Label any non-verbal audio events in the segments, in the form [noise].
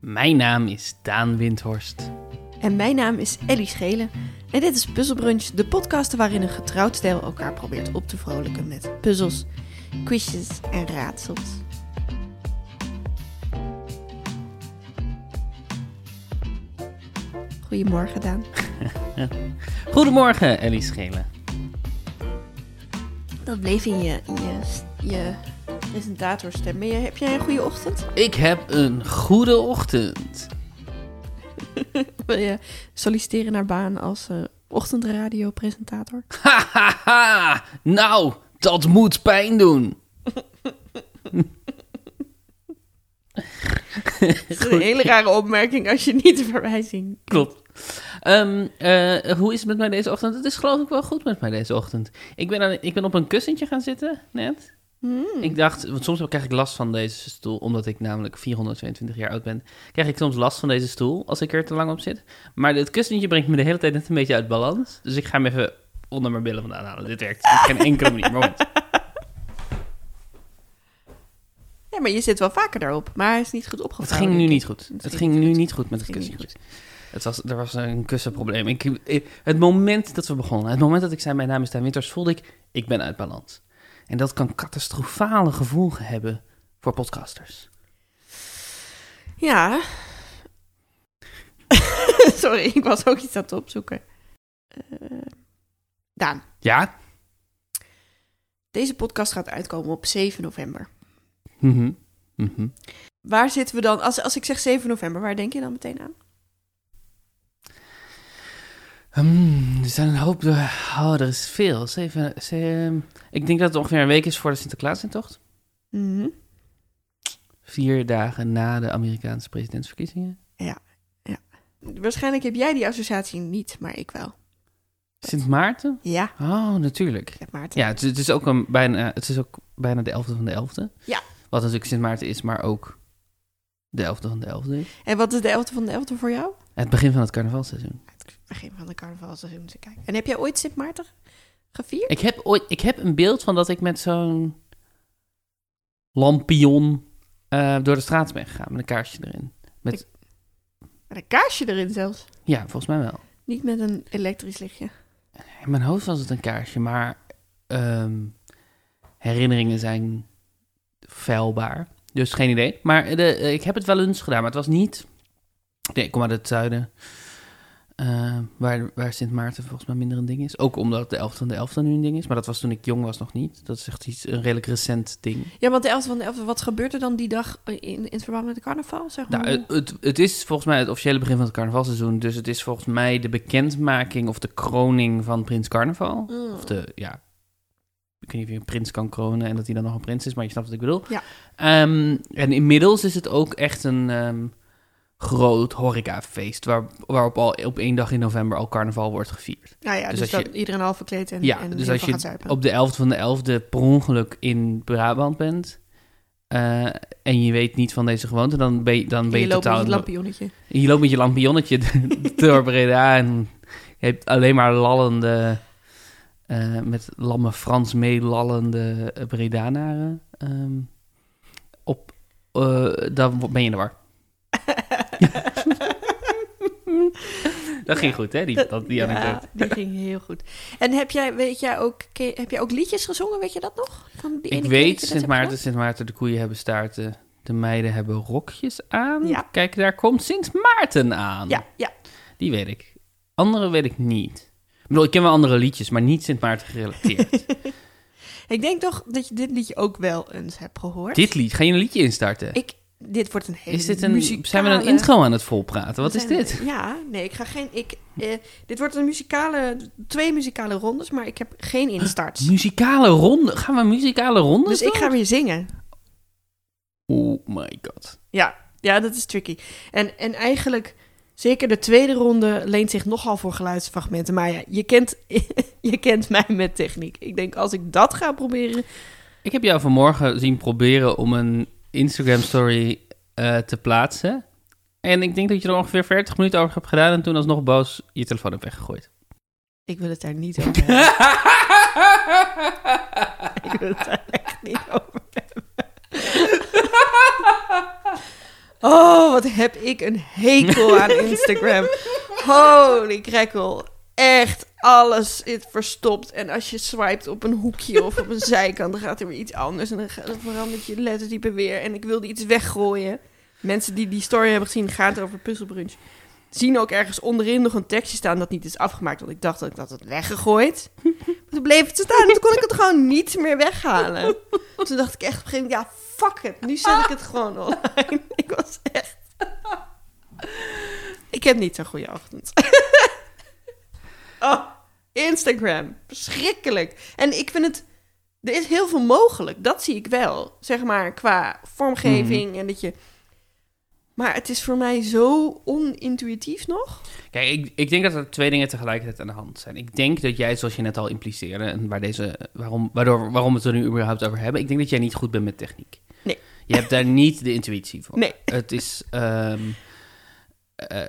Mijn naam is Daan Windhorst. En mijn naam is Ellie Schelen. En dit is Puzzelbrunch, de podcast waarin een getrouwd stijl elkaar probeert op te vrolijken met puzzels, quizjes en raadsels. Goedemorgen, Daan. Goedemorgen, Ellie Schelen. Dat bleef in je, in je, je presentatorstem. Maar je- Heb jij een goede ochtend? Ik heb een goede ochtend. [laughs] Wil je solliciteren naar baan als eh, [laughs] ochtendradiopresentator? Ha, ha, ha. Nou, dat moet pijn doen. Het is een hele rare opmerking als je niet de verwijzing. Klopt. Ehm, eh, hoe is het met mij deze ochtend? Het is geloof ik wel goed met mij deze ochtend. Ik ben, aan, ik ben op een kussentje gaan zitten, net. Ik dacht, want soms krijg ik last van deze stoel, omdat ik namelijk 422 jaar oud ben. Krijg ik soms last van deze stoel als ik er te lang op zit. Maar dit kussentje brengt me de hele tijd net een beetje uit balans. Dus ik ga hem even onder mijn billen vandaan halen. Dit werkt op geen enkele manier. Maar goed. Ja, maar je zit wel vaker daarop, maar hij is niet goed het opgevallen. ging nu denk ik. niet goed. Nou, Het ging nu niet goed met het Het ging niet kussentje. Het was, er was een kussenprobleem. Ik, ik- het moment dat we begonnen, het moment dat ik zei mijn naam is Daan Winters, voelde ik, ik ben uit balans. En dat kan catastrofale gevolgen hebben voor podcasters. Ja. [laughs] Sorry, ik was ook iets aan het opzoeken. Eh, Daan, Ja? deze podcast gaat uitkomen op 7 november. Mhm. Mhm. Waar zitten we dan? Als, als ik zeg 7 november, waar denk je dan meteen aan? Hmm, er zijn een hoop... eh, Oh, er is veel. Zeven, ze- ik denk dat het ongeveer een week is voor de Sinterklaasintocht. Vier dagen na de Amerikaanse presidentsverkiezingen. Waarschijnlijk heb jij die associatie niet, maar ik wel. Sint Maarten? Ja, Oh, natuurlijk. zeg maar. Ja, het, is- het is ook een, bijna, het is ook bijna de 11e van de 11e. Ja. Wat natuurlijk Sint Maarten is, maar ook de 11e van de 11e is. En wat is de 11e van de 11e voor jou? Het begin van het carnavalseizoen. Het begin van de carnavalseizoen te kijken. En heb jij ooit Sint Maarten gevierd? Ik heb, ooit, ik heb een beeld van dat ik met zo'n lampion eh, door de straat ben gegaan. Met een kaarsje erin. Met een kaarsje erin zelfs. Ja, volgens mij wel. Niet met een elektrisch lichtje. In mijn hoofd was het een kaarsje, maar ehm, herinneringen zijn vuilbaar. Dus geen idee. Maar de, eh, ik heb het wel eens gedaan, maar het was niet... Nee, ik kom uit het zuiden, eh, waar, waar Sint Maarten volgens mij minder een ding is. Ook omdat de 11e van de 11e nu een ding is. Maar dat was toen ik jong was nog niet. Dat is echt iets, een redelijk recent ding. Ja, want de 11e van de 11e, wat gebeurt er dan die dag in, in het verband met de carnaval? Zeg maar. Nou, het, het, het is volgens mij het officiële begin van het carnavalseizoen. Dus het is volgens mij de bekendmaking of de kroning van Prins Carnaval. Mm. Of de, ja. Ik weet niet of je een prins kan kronen en dat hij dan nog een prins is, maar je snapt wat ik bedoel. Ja. Ehm, en inmiddels is het ook echt een ehm, groot horecafeest. Waar, waarop al op één dag in november al carnaval wordt gevierd. Nou ja, dus dus, als dat iedereen half verkleed en, ja, en dus heel als veel gaat je zuipen. op de 11e van de 11e per ongeluk in Brabant bent. eh, en je weet niet van deze gewoonte, dan ben je, dan En ben je, je loopt totaal... met je lampionnetje. Je loopt met je lampionnetje [laughs] door Breda en je hebt alleen maar lallende, eh, met lamme Frans meelallende eh, Bredanaren. ehm, op, eh, dan ben je in de war. [laughs] Dat ging goed, hè? Die, dat, die Ja, anekdote. die ging heel goed. En heb jij, weet jij ook, ken- heb jij ook liedjes gezongen? Weet je dat nog? Van die ene Ik keer weet, dat je dat Sint hebt Maarten, Sint Maarten, de koeien hebben staarten. De meiden hebben rokjes aan. Ja. Kijk, daar komt Sint Maarten aan. gedaan? Ja, ja. Die weet ik. Andere weet ik niet. Ik bedoel, ik ken wel andere liedjes, maar niet Sint Maarten [laughs] gerelateerd. Ik denk toch dat je dit liedje ook wel eens hebt gehoord. dit lied, ga je een liedje instarten? Ik, dit wordt een hele Is dit een, muzikale... Zijn we een intro aan het volpraten? Wat We is zijn- dit? Ja, nee, ik ga geen... Ik, eh, dit wordt een muzikale... Twee muzikale rondes, maar ik heb geen instarts. Muzikale ronde? Gaan we muzikale Hm? rondes dus ik doen? ga weer zingen. Oh my god. Ja, ja, dat is tricky. En, en eigenlijk, zeker de tweede ronde leent zich nogal voor geluidsfragmenten. Maar ja, je kent, [laughs] je kent mij met techniek. Ik denk, als ik dat ga proberen... Ik heb jou vanmorgen zien proberen om een Instagram story eh, te plaatsen. En ik denk dat je er ongeveer 40 minuten over hebt gedaan en toen alsnog boos je telefoon hebt weggegooid. Ik wil het daar [laughs] niet over hebben. Ik wil het daar echt niet over hebben. Oh, wat heb ik een hekel aan Instagram. Holy crackle. Echt, alles zit verstopt. En als je swipet op een hoekje of op een zijkant, dan gaat er weer iets anders. En dan, ga- dan verandert je lettertype weer. En ik wilde iets weggooien. Mensen die die story hebben gezien, gaat over puzzelbrunch. Zien ook ergens onderin nog een tekstje staan dat niet is afgemaakt. Want ik dacht dat ik dat had weggegooid. Maar toen bleef het staan. En toen kon ik het gewoon niet meer weghalen. Toen dacht ik echt op een gegeven moment, ja, fuck het. Nu zet ik het gewoon online. [laughs] Ik was echt... Ik heb niet zo'n goede ochtend. Oh, Instagram. Verschrikkelijk. En ik vind het... Er is heel veel mogelijk. Dat zie ik wel. Zeg maar, qua vormgeving en dat je... Maar het is voor mij zo onintuïtief nog. Kijk, ik, ik denk dat er twee dingen tegelijkertijd aan de hand zijn. Ik denk dat jij, zoals je net al impliceerde, en waar deze, waarom, waardoor, waarom we het er nu überhaupt over hebben, ik denk dat jij niet goed bent met techniek. Nee. Je hebt daar niet de intuïtie voor. Nee. Het is. ehm, eh,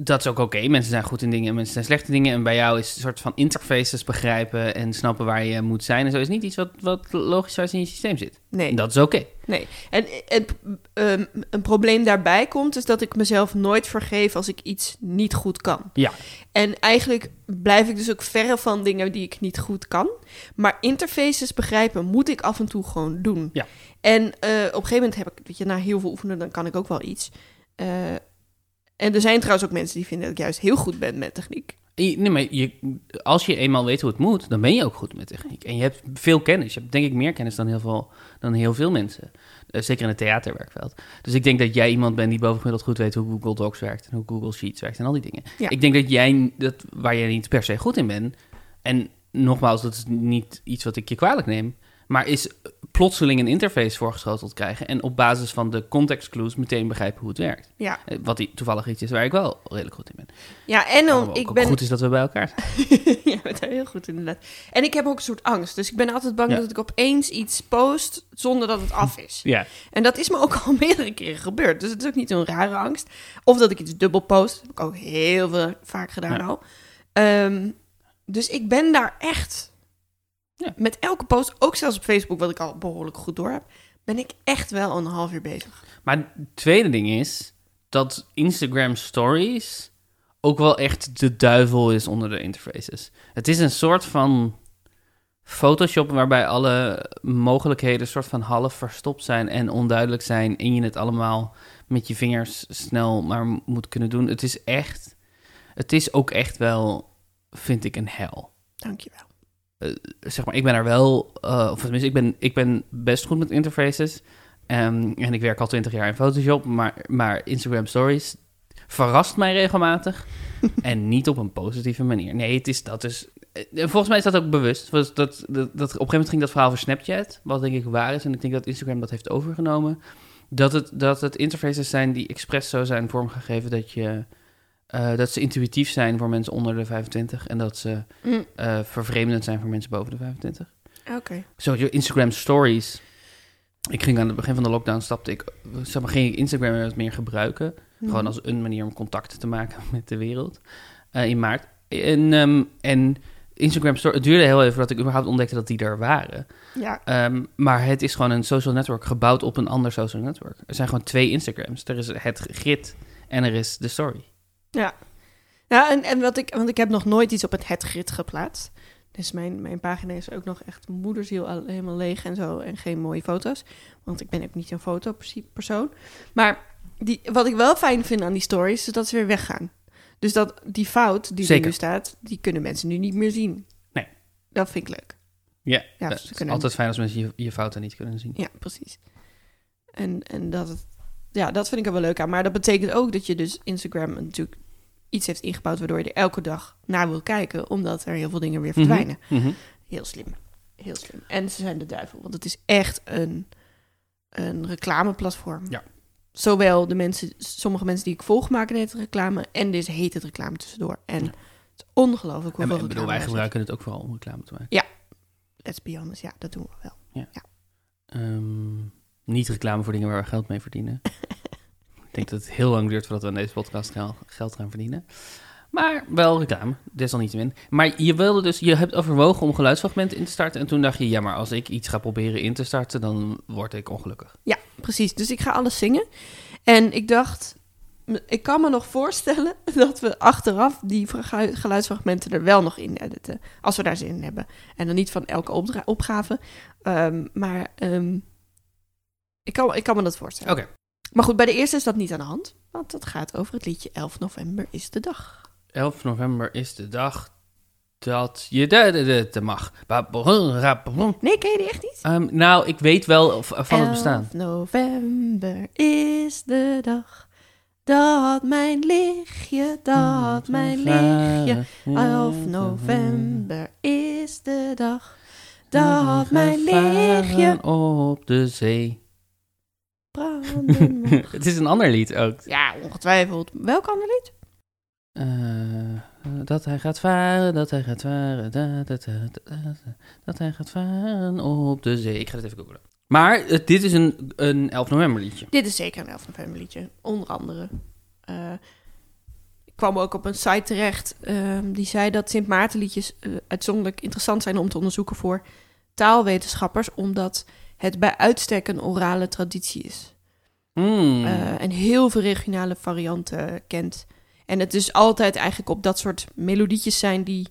dat is ook oké. Mensen zijn goed in dingen en mensen zijn slecht in dingen. En bij jou is een soort van interfaces begrijpen en snappen waar je moet zijn. En zo is niet iets wat, wat logischerwijs in je systeem zit. Nee. En dat is oké. Nee. En het, ehm, een probleem daarbij komt is dat ik mezelf nooit vergeef als ik iets niet goed kan. Ja. En eigenlijk blijf ik dus ook verre van dingen die ik niet goed kan. Maar interfaces begrijpen moet ik af en toe gewoon doen. Ja. En eh, op een gegeven moment heb ik, weet je, na heel veel oefenen, dan kan ik ook wel iets. Eh, en er zijn trouwens ook mensen die vinden dat ik juist heel goed ben met techniek. Je- Nee, maar je, als je eenmaal weet hoe het moet, dan ben je ook goed met techniek. En je hebt veel kennis. Je hebt denk ik meer kennis dan heel veel, dan heel veel mensen. Eh, zeker in het theaterwerkveld. Dus ik denk dat jij iemand bent die bovengemiddeld goed weet hoe Google Docs werkt... en hoe Google Sheets werkt en al die dingen. Ja. Ik denk dat jij, dat, waar jij niet per se goed in bent... en nogmaals, dat is niet iets wat ik je kwalijk neem... maar is plotseling een interface voorgeschoteld krijgen... en op basis van de context clues meteen begrijpen hoe het werkt. Ja, Eh, Wat die, toevallig iets is waar ik wel redelijk goed in ben. ja en Waarom dan, ook, ik ook ben... goed is dat we bij elkaar zijn. [laughs] ja, bent daar heel goed in, inderdaad. En ik heb ook een soort angst. Dus ik ben altijd bang Ja. dat ik opeens iets post zonder dat het af is. Ja. En dat is me ook [laughs] al meerdere keren gebeurd. Dus het is ook niet zo'n rare angst. Of dat ik iets dubbel post. heb ik ook heel veel, vaak gedaan Ja. al. Ehm, dus ik ben daar echt... Ja. Met elke post, ook zelfs op Facebook, wat ik al behoorlijk goed door heb... ben ik echt wel een half uur bezig. Maar het tweede ding is dat Instagram Stories ook wel echt de duivel is onder de interfaces. Het is een soort van Photoshop waarbij alle mogelijkheden soort van half verstopt zijn en onduidelijk zijn en je het allemaal met je vingers snel maar moet kunnen doen. Het is echt, het is ook echt wel, vind ik, een hel Dankjewel. zeg maar, ik ben daar wel, eh, of tenminste, ik ben, ik ben best goed met interfaces. Ehm, en ik werk al twintig jaar in Photoshop, maar, maar Instagram Stories verrast mij regelmatig. en niet op een positieve manier. Nee, het is dat dus. eh, Volgens mij is dat ook bewust. Was dat, dat, dat, op een gegeven moment ging dat verhaal van Snapchat, wat denk ik waar is. En ik denk dat Instagram dat heeft overgenomen. Dat het, dat het interfaces zijn die expres zo zijn vormgegeven dat, je, eh, dat ze intuïtief zijn voor mensen onder de 25. En dat ze Mm, eh, vervreemdend zijn voor mensen boven de 25. Oké. Zo, je Instagram stories. Ik ging aan het begin van de lockdown, stapte ik, zeg maar, ging ik Instagram weer wat meer gebruiken. Mhm. Gewoon als een manier om contact te maken [laughs] met de wereld eh, in maart. En, ehm, en Instagram stories, het duurde heel even voordat ik überhaupt ontdekte dat die er waren. Ja, Ehm, maar het is gewoon een social network gebouwd op een ander social network. Er zijn gewoon twee Instagrams. Er is het grid en er is de story. Ja, Nou, en, en wat ik, want ik heb nog nooit iets op het het grid geplaatst. Dus mijn, mijn pagina is ook nog echt moederziel al- helemaal leeg en zo. En geen mooie foto's. Want ik ben ook niet zo'n fotopersoon. Maar die, wat ik wel fijn vind aan die stories, is dat ze weer weggaan. Dus dat die fout die er Zeker. nu staat, die kunnen mensen nu niet meer zien. Nee. Dat vind ik leuk. Ja, Ja, eh, ze het is kunnen- altijd fijn als mensen je, je fouten niet kunnen zien. Ja, precies. En, en dat, het, ja, dat vind ik er wel leuk aan. Maar dat betekent ook dat je dus Instagram natuurlijk iets heeft ingebouwd... waardoor je er elke dag naar wil kijken... omdat er heel veel dingen weer verdwijnen. Mhm. Heel slim. Heel slim. En ze zijn de duivel, want het is echt een, een reclameplatform. Ja. Zowel de mensen, sommige mensen die ik volg maken het reclame en dit heet het reclame tussendoor. En Ja. het is ongelooflijk En, hoeveel ik bedoel, reclame wij er gebruiken het ook vooral om reclame te maken. zit. Let's be honest, ja, dat doen we wel. Ehm, niet reclame voor dingen waar we geld mee [laughs] verdienen. ik denk dat het heel lang duurt voordat we aan deze podcast gel- geld gaan verdienen. Maar wel reclame, desalniettemin. Maar je wilde dus, je hebt overwogen om geluidsfragmenten in te starten. En toen dacht je, ja, maar als ik iets ga proberen in te starten, dan word ik ongelukkig. Precies, dus ik ga alles zingen. En ik dacht, m- ik kan me nog voorstellen [laughs] dat we achteraf die vergu- geluidsfragmenten er wel nog in editen. Als we daar zin in hebben. En dan niet van elke opdra- opgave. Ehm, maar ehm, ik, kan, ik kan me dat voorstellen. Oké. Maar goed, bij de eerste is dat niet aan de hand. Want dat gaat over het liedje 11 november is de dag. 11 november is de dag dat je de, de, de, de mag. Ba- bron- ra- bron. Nee, ken je die echt niet? Ehm, nou, ik weet wel v- van het 11 bestaan. november is de dag dat mijn lichtje, dat mijn lichtje. 11 november is de dag dat mijn lichtje op de zee. [laughs] branden mag. het is een ander lied ook. Ja, ongetwijfeld. Welk ander lied? Eh, dat hij gaat varen, dat hij gaat varen, da, da, da, da, da, dat hij gaat varen op de zee. Ik ga dit even googlen. Maar eh, dit is een, een 11 november liedje. Dit is zeker een 11 november liedje. Onder andere. Eh, ik kwam ook op een site terecht ehm, die zei dat Sint Maartenliedjes eh, uitzonderlijk interessant zijn om te onderzoeken voor taalwetenschappers, omdat het bij uitstek een orale traditie is. Hmm. eh, en heel veel regionale varianten kent. En het dus altijd eigenlijk op dat soort melodietjes zijn die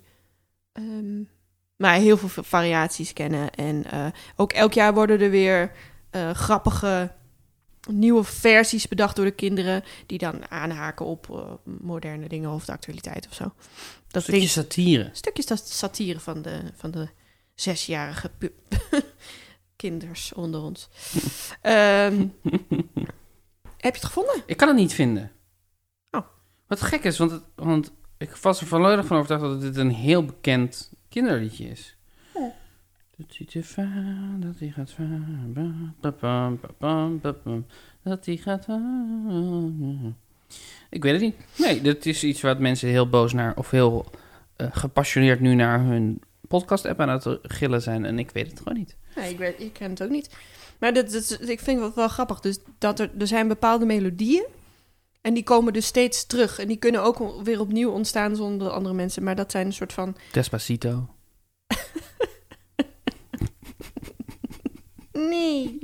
ehm, maar heel veel variaties kennen. En eh, ook elk jaar worden er weer eh, grappige nieuwe versies bedacht door de kinderen... die dan aanhaken op eh, moderne dingen of de actualiteit of zo. Dat Stukje ding, satire. stukjes dat satire van de, van de zesjarige pu- [laughs] kinders onder ons. Ehm, heb je het gevonden? Ik kan het niet vinden. Oh. Wat gek is, want, het- want ik was er volledig van overtuigd dat dit een heel bekend kinderliedje is. Oh. Dat hij te va- dat hij gaat varen, ba- ba- bam, ba- bam, ba- bam, dat hij gaat varen. Ik weet het niet. Nee, dat is iets wat mensen heel boos naar, of heel eh, gepassioneerd nu naar hun podcast-app aan het gillen zijn. En ik weet het gewoon niet. Nee, ik, weet, ik ken het ook niet. Maar dat, dat, is- ik vind het wel grappig. Dus dat er, er zijn bepaalde melodieën. En die komen dus steeds terug. En die kunnen ook o- weer opnieuw ontstaan zonder andere mensen. Maar dat zijn een soort van... Despacito. Nee.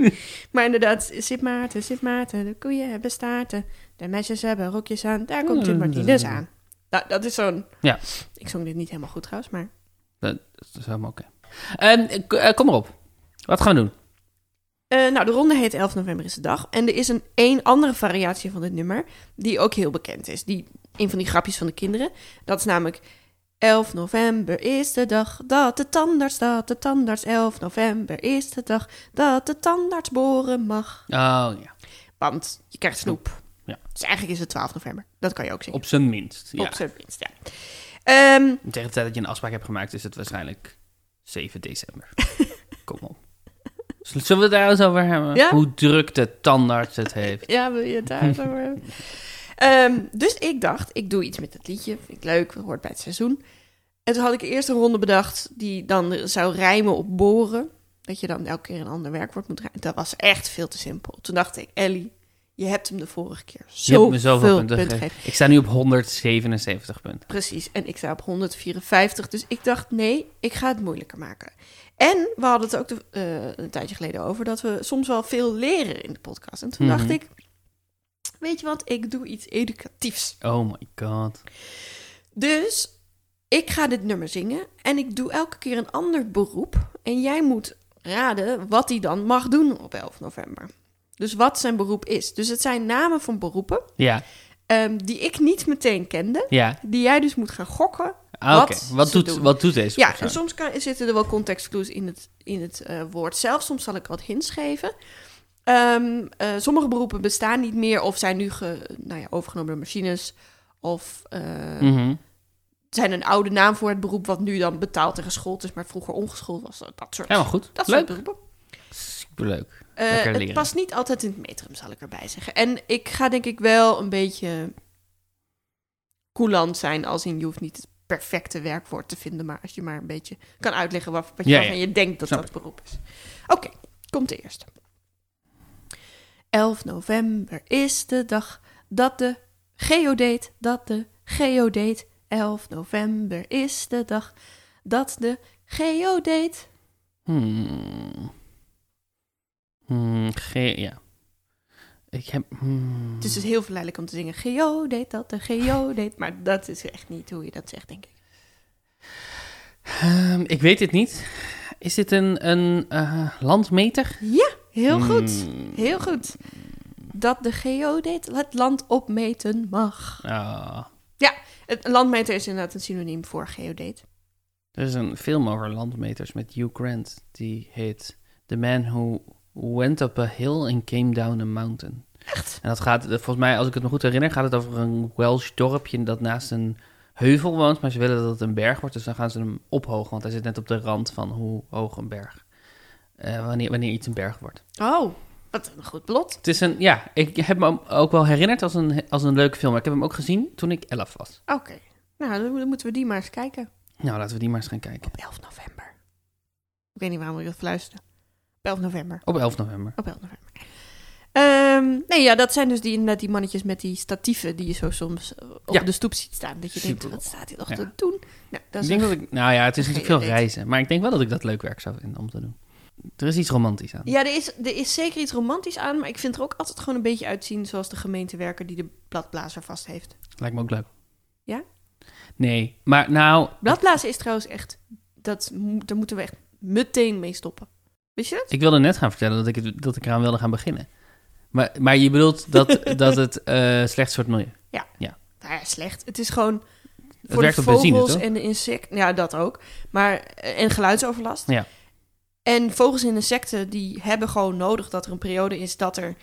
maar inderdaad, Sint Maarten, Sint Maarten. De koeien hebben staarten. De meisjes hebben rokjes aan. Daar komt Sint Martinez aan. Nou, dat is zo'n... Ja. Ik zong dit niet helemaal goed trouwens, maar... Dat is helemaal oké. Ehm, k- eh, kom maar op. Wat gaan we doen? Eh, nou, de ronde heet 11 november is de dag. En er is een één andere variatie van dit nummer, die ook heel bekend is. Die, een van die grapjes van de kinderen. Dat is namelijk 11 november is de dag dat de tandarts, dat de tandarts. 11 november is de dag dat de tandarts boren mag. Oh ja. Want je krijgt snoep. Ja. Dus eigenlijk is het 12 november. Dat kan je ook zeggen. Op zijn minst. Ja. Op zijn minst, ja. Ehm, Tegen de tijd dat je een afspraak hebt gemaakt, is het waarschijnlijk 7 [laughs] december. Kom op. Z- Zullen we het daar eens over hebben? Ja? Hoe druk de tandarts het heeft. Ja, wil je het [laughs] daar zo over hebben? Ehm, dus ik dacht, ik doe iets met dat liedje. Vind ik leuk, hoort bij het seizoen. En toen had ik eerst een ronde bedacht die dan zou rijmen op boren. Dat je dan elke keer een ander werkwoord moet rijmen. Dat was echt veel te simpel. Toen dacht ik, Ellie, je hebt hem de vorige keer Je hebt zo me veel zoveel punten punten gegeven. Ik sta nu op 177 punten. Precies, en ik sta op 154. Dus ik dacht, nee, ik ga het moeilijker maken. En we hadden het ook de- eh, een tijdje geleden over dat we soms wel veel leren in de podcast. En toen Mhm. dacht ik, weet je wat, ik doe iets educatiefs. Oh my god. Dus ik ga dit nummer zingen en ik doe elke keer een ander beroep. En jij moet raden wat hij dan mag doen op 11 november. Dus wat zijn beroep is. Dus het zijn namen van beroepen Ja, ehm, die ik niet meteen kende. ja. Die jij dus moet gaan gokken Ah, Oké, Wat wat, ze doet, doen. wat doet deze Ja, persoon? en soms kan, zitten er wel contextclues in het, in het eh, woord zelf. Soms zal ik wat hints geven. Ehm, eh, sommige beroepen bestaan niet meer of zijn nu ge, nou ja, overgenomen door machines. Of eh, Mhm. zijn een oude naam voor het beroep wat nu dan betaald en geschoold is, maar vroeger ongeschoold was. Dat soort, Helemaal goed. dat soort Leuk. beroepen. Superleuk. Eh, Lekker het leren. past niet altijd in het metrum, zal ik erbij zeggen. En ik ga denk ik wel een beetje coulant zijn, als in je hoeft niet het perfecte werkwoord te vinden, maar als je maar een beetje kan uitleggen wat, wat je, Ja, waarvan ja. je denkt dat Snap dat beroep is. Oké, komt de eerste. 11 november is de dag dat de geodeet, dat de geodeet. 11 november is de dag dat de geodeet. Hmm. Hmm, ge- ja. Ik heb... hmm. Het is dus heel verleidelijk om te zingen. Geo deed dat, de Geo deed... Maar dat is echt niet hoe je dat zegt, denk ik. Ehm, ik weet het niet. Is dit een, een eh, landmeter? Ja, heel goed. Hmm. Heel goed. Dat de Geo deed het land opmeten mag. Ah, Het een landmeter is inderdaad een synoniem voor geodeet. er is een film over landmeters met Hugh Grant. Die heet The Man Who Went Up a Hill and Came Down a Mountain. Echt? En dat gaat, eh, volgens mij, als ik het me goed herinner, gaat het over een Welsh dorpje dat naast een heuvel woont. Maar ze willen dat het een berg wordt, dus dan gaan ze hem ophogen. Want hij zit net op de rand van hoe hoog een berg. eh, wanneer, wanneer iets een berg wordt. Oh, wat een goed blot. Het is een, ja, ik heb me ook wel herinnerd als een, als een leuke film. Maar ik heb hem ook gezien toen ik 11 was. Oké. Nou, dan moeten we die maar eens kijken. Nou, laten we die maar eens gaan kijken. Op 11 november. Ik weet niet waarom ik dat fluisterde. Op 11 november. Op 11 november. Op 11 november. Ehm, nee, ja, dat zijn dus die, inderdaad die mannetjes met die statieven die je zo soms eh, op Ja. de stoep ziet staan. Dat je Super. denkt, wat staat hier nog Ja. te doen? Nou, dat Ik is denk een- dat ik, nou ja, het is natuurlijk veel Geen idee. reizen. Maar ik denk wel dat ik dat leuk werk zou vinden om te doen. Er is iets romantisch aan. Ja, er is, er is zeker iets romantisch aan, maar ik vind er ook altijd gewoon een beetje uitzien zoals de gemeentewerker die de bladblazer vast heeft. Lijkt me ook leuk. Ja? Nee, maar nou, Bladblazen is trouwens echt, dat, mo- daar moeten we echt meteen mee stoppen. Wist je dat? ik wilde net gaan vertellen dat ik, het- dat ik eraan wilde gaan beginnen. Maar, maar je bedoelt [laughs] dat, dat het eh slecht soort milieu. Nou ja, slecht. Het is gewoon Het voor de werkt op vogels benzine, toch? en de insecten. Ja, dat ook. Maar, eh, en geluidsoverlast. Ja. En vogels en insecten die hebben gewoon nodig dat er een periode is dat er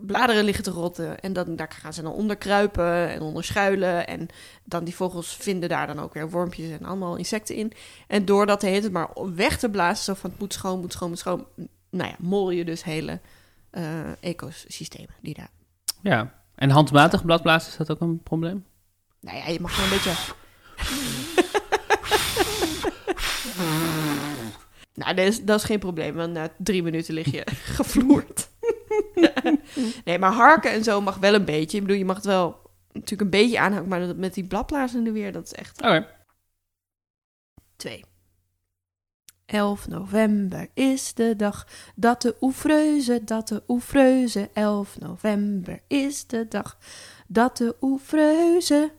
bladeren liggen te rotten. En dan, daar gaan ze dan onder kruipen en onder schuilen. En dan die vogels vinden daar dan ook weer wormpjes en allemaal insecten in. En door dat de hele tijd maar weg te blazen, zo van het moet schoon, moet schoon, moet schoon. Nou ja, mol je dus hele eh, ecosystemen die daar... Ja. En handmatig bladblazen, is dat ook een probleem? Nou ja, je mag gewoon een beetje... [laughs] nou, dat is, dat is geen probleem, want na drie minuten lig je [laughs] gevloerd. nee, maar harken en zo mag wel een beetje. Ik bedoel, je mag het wel natuurlijk een beetje aanhouden, maar dat- met die bladblazen in de weer, dat is echt... Oké. Twee. 11 november is de dag dat de oefreuze, dat de oefreuze. 11 november is de dag dat de oefreuze...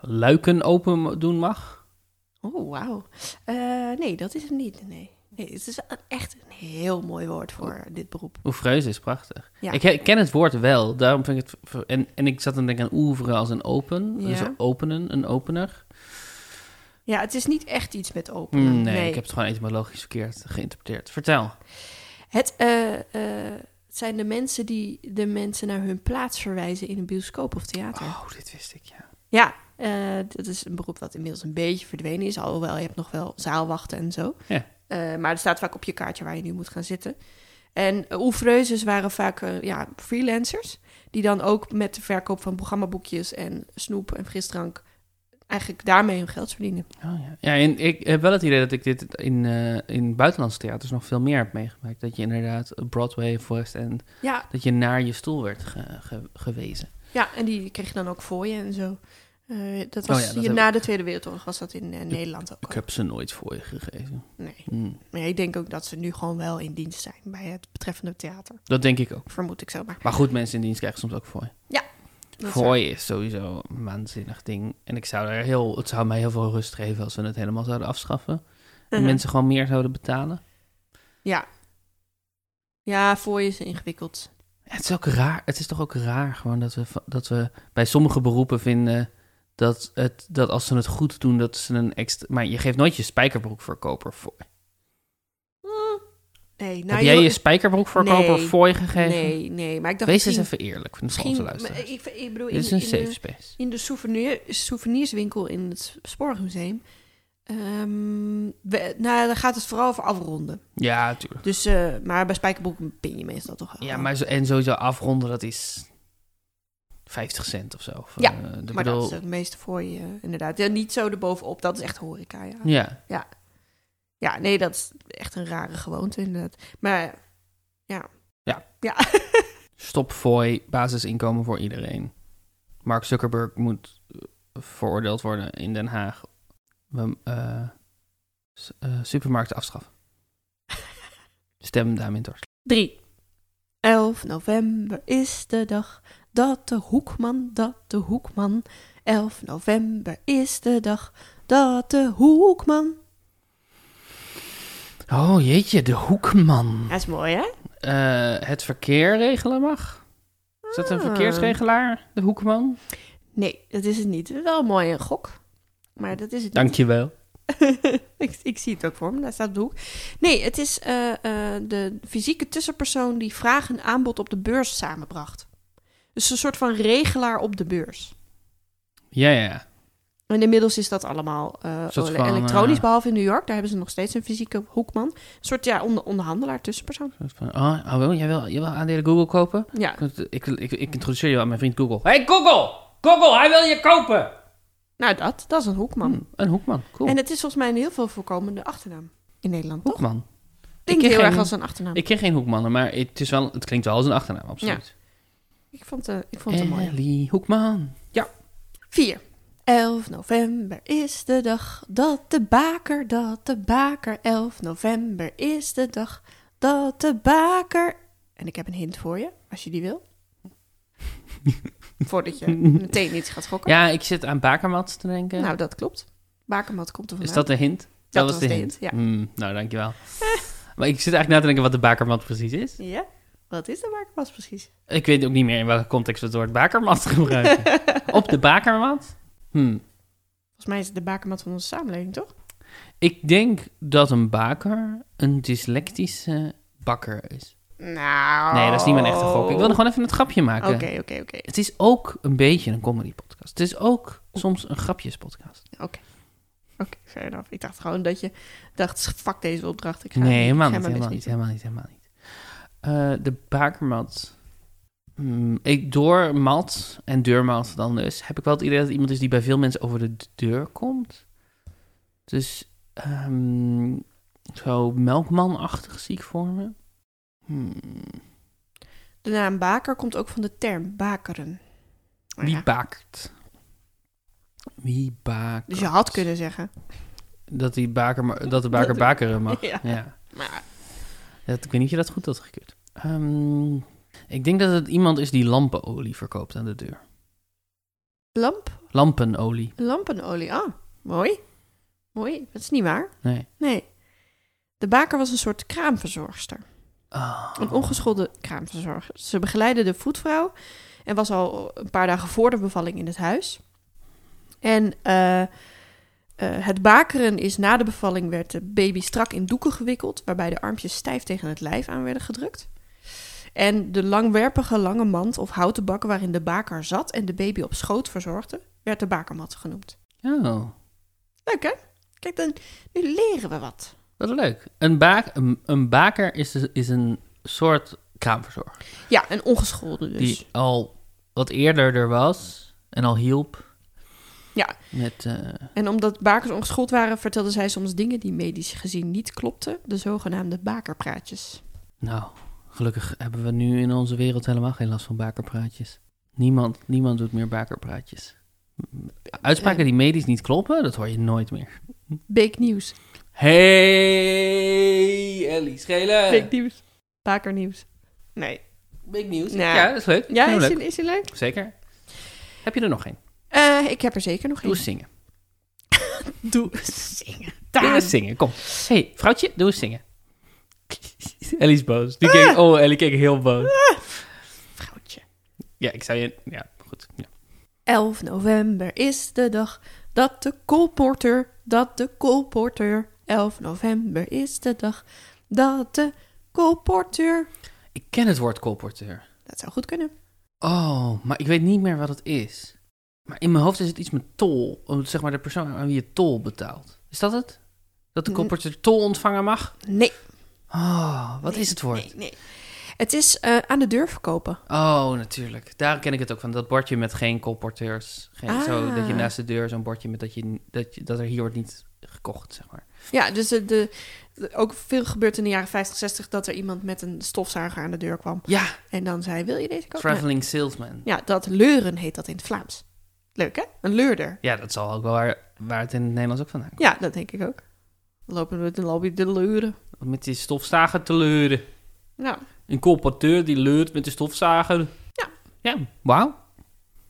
Luiken open mo- doen mag. Oh, wauw. Eh, nee, dat is hem niet. Nee. nee het is een- echt een heel mooi woord voor Oh. dit beroep. Oevreuze is prachtig. Ja. Ik he- ken het woord wel, daarom vind ik het... ver- En, en ik zat aan het denken aan oeveren als een open. Ja. Dus openen, een opener. Ja, het is niet echt iets met open. Mm, nee, ik heb het gewoon etymologisch verkeerd geïnterpreteerd. Vertel. Het eh, eh, het zijn de mensen die de mensen naar hun plaats verwijzen in een bioscoop of theater. Oh, dit wist ik, ja. Ja, eh, dat is een beroep wat inmiddels een beetje verdwenen is. Alhoewel, je hebt nog wel zaalwachten en zo. Ja. Eh, maar er staat vaak op je kaartje waar je nu moet gaan zitten. En eh, oeuvreuses waren vaak eh, ja, freelancers. Die dan ook met de verkoop van programmaboekjes en snoep en frisdrank... eigenlijk daarmee hun geld verdienen. Oh, ja. ja, en ik heb wel het idee dat ik dit in, eh, in buitenlandse theaters nog veel meer heb meegemaakt. Dat je inderdaad Broadway, West End, Ja, dat je naar je stoel werd ge- ge- gewezen. ja en die kreeg je dan ook voor je en zo. Eh, dat was Oh ja, dat hier heb na de Tweede Wereldoorlog was dat in eh, Nederland ook. Ik heb ze nooit voor je gegeven. Nee. Mm, Maar ik denk ook dat ze nu gewoon wel in dienst zijn bij het betreffende theater. dat denk ik ook. Vermoed ik zomaar. Maar goed, mensen in dienst krijgen soms ook fooi. Dat is waar. Fooi is sowieso een waanzinnig ding. En ik zou er heel, het zou mij heel veel rust geven als we het helemaal zouden afschaffen. En Mhm. mensen gewoon meer zouden betalen. Ja. Ja, voor je is ingewikkeld. Ja, Het is ook raar. Het is toch ook raar gewoon dat we, va- dat we bij sommige beroepen vinden dat, het, dat als ze het goed doen, dat ze een extra. Maar je geeft nooit je spijkerbroekverkoper voor. Nou, Nee, nou, Heb jij je spijkerbroekverkoper Nee. voor je gegeven? Nee, nee, maar ik dacht Wees eens misschien... even eerlijk voor misschien onze maar luisteraars. ik, ik bedoel, in, Dit is een in safe de, space. in de souvenir, souvenirswinkel in het Spoormuseum... ehm, we- nou, dan gaat het vooral over afronden. Ja, natuurlijk. Dus, eh, maar bij spijkerboeken pin je meestal toch wel. Ja, maar zo, en sowieso afronden, dat is 50 cent of zo. Of, Ja, eh, ik Maar bedoel- dat is het meeste voor je, inderdaad. Ja, niet zo erbovenop, dat is echt horeca, ja. Ja, Ja, nee, dat is echt een rare gewoonte, inderdaad. Maar ja. Ja. Ja. [laughs] stop fooi, basisinkomen voor iedereen. Mark Zuckerberg moet eh, veroordeeld worden in Den Haag. We, eh, s- eh, supermarkten afschaffen. Stem daarmee in Drie. 11 november is de dag dat de hoekman, dat de hoekman. 11 november is de dag dat de hoekman. Oh jeetje, de hoekman. Dat is mooi, hè? Eh, het verkeer regelen mag. Is dat Ah. een verkeersregelaar, de hoekman? Nee, dat is het niet. Wel mooi een gok. Maar dat is het niet. [laughs] Dankjewel. ik, ik zie het ook voor me, daar staat op de hoek. Nee, het is eh, eh, de fysieke tussenpersoon die vraag en aanbod op de beurs samenbracht. Dus een soort van regelaar op de beurs. Ja, ja, ja. En inmiddels is dat allemaal eh, Is dat ele- van, elektronisch, eh, behalve in New York. Daar hebben ze nog steeds een fysieke hoekman. Een soort ja, onder, onderhandelaar, tussenpersoon. Soort van, Oh, oh wil, jij, wil, jij wil aandelen Google kopen? Ja, Ik, ik, ik, ik introduceer je aan mijn vriend Google. Hey Google! Google, hij wil je kopen! nou dat, dat is een hoekman. Hm, een hoekman, cool. En het is volgens mij een heel veel voorkomende achternaam in Nederland. Toch? hoekman. Denk ken heel erg geen- als een achternaam. Ik ken geen hoekmannen, maar het, is wel, het klinkt wel als een achternaam, absoluut. Ik vond, eh, ik vond het een mooie. Ellie Hoekman. 4. 11 november is de dag dat de baker, dat de baker. 11 november is de dag dat de baker. En ik heb een hint voor je, als je die [laughs] wil. Voordat je meteen iets gaat gokken. Ja, ik zit aan Bakermat te denken. Nou, dat klopt. Bakermat komt er vandaan. is dat de hint? Dat, was de hint, ja. Eh. Hmm, nou, dankjewel. maar ik zit eigenlijk na te denken wat de Bakermat precies is. Ja? Wat is de bakermat precies? Ik weet ook niet meer in welke context we het woord Bakermat gebruiken. Op de Bakermat? Hmm. [laughs] Volgens mij is het de bakermat van onze samenleving, toch? Ik denk dat een baker een dyslectische bakker is. Nou... Nee, dat is niet mijn echte gok. Ik wilde gewoon even het grapje maken. Oh. Oké, oké, oké. Het is ook een beetje een comedy podcast. Het is ook soms een grapjespodcast. Oké, fair enough. Ik dacht gewoon dat je dacht, fuck deze opdracht. Ik ga Nee, helemaal ik ga niet, mijn helemaal niet, best helemaal niet, helemaal niet. Eh, de bakermat. Hmm, ik, door mat en deurmat dan dus, heb ik wel het idee dat het iemand is die bij veel mensen over de d- deur komt. Dus ehm, zo melkmanachtig zie ik voor me. Hmm, De naam baker komt ook van de term bakeren. Maar Wie Nou ja, baakt? Wie baakt? dus je had kunnen zeggen. Dat, die baker, ma- dat de Dat baker de- bakeren [laughs] [laughs] mag. Ja. ja. Maar Dat, ik weet niet of je dat goed had gekund. Ehm, ik denk dat het iemand is die lampenolie verkoopt aan de deur. lamp, Lampenolie. lampenolie. Ah, mooi. Mooi, dat is niet waar. Nee. Nee. De baker was een soort kraamverzorgster. Oh. Een ongeschoolde kraamverzorger. Ze begeleidde de voetvrouw en was al een paar dagen voor de bevalling in het huis. En eh, eh, het bakeren is na de bevalling werd de baby strak in doeken gewikkeld, waarbij de armpjes stijf tegen het lijf aan werden gedrukt. En de langwerpige lange mand of houten bak waarin de baker zat en de baby op schoot verzorgde, werd de bakermat genoemd. Oh, Leuk hè? Kijk, dan, nu leren we wat. dat is leuk. Een, baak, een, een baker is, dus- is een soort kraamverzorger. Ja, een ongeschoolde dus. Die al wat eerder er was en al hielp. Ja. Met, eh, En omdat bakers ongeschoold waren, vertelde zij soms dingen die medisch gezien niet klopten, de zogenaamde bakerpraatjes. nou, gelukkig hebben we nu in onze wereld helemaal geen last van bakerpraatjes. Niemand, niemand doet meer bakerpraatjes. Uitspraken die medisch niet kloppen, dat hoor je nooit meer. Big nieuws. Hey, Ellie Schelen. Big nieuws. Bakernieuws. Nee. Big nieuws. Nou. Ja, dat is leuk. Ja, Vind is ik die, leuk. is die leuk? Zeker. Heb je er nog één? Eh, ik heb er zeker nog Doe één. eens zingen. Doe [laughs] zingen. Doe Daan. eens zingen, kom. hey, vrouwtje, doe eens [laughs] zingen. Ellie is boos. Die keek, oh, Ellie keek heel boos. Ah. Vrouwtje. Ja, ik zou je... Ja, goed. Ja. 11 november is de dag dat de koolporter, dat de koolporter. 11 november is de dag dat de koolporter. Ik ken het woord colporteur. Dat zou goed kunnen. Oh, maar ik weet niet meer wat het is. Maar in mijn hoofd is het iets met tol. Oh, Zeg maar de persoon aan wie je tol betaalt. Is dat het? Dat de Hm. colporteur tol ontvangen mag? Nee. Oh, wat is het woord? Nee, nee. Het is eh, aan de deur verkopen. Oh, natuurlijk. Daar ken ik het ook van. Dat bordje met geen colporteurs. Geen, zo, dat je Ah. naast de deur zo'n bordje met dat, je, dat, je, dat er hier wordt niet gekocht, zeg maar. Ja, dus de, de, de- ook veel gebeurt in de jaren 50, 60 dat er iemand met een stofzuiger aan de deur kwam. Ja, En dan zei: Wil je deze kopen? traveling salesman. Ja, dat leuren heet dat in het Vlaams. Leuk hè? Een leurder. Ja, dat zal ook wel waar, waar het in het Nederlands ook vandaan komt. Ja, dat denk ik ook. Dan Lopen we de lobby de leuren. Met die stofzagen te leuren. Nou, Een colporteur die leurt met de stofzager. Ja. Ja, wauw.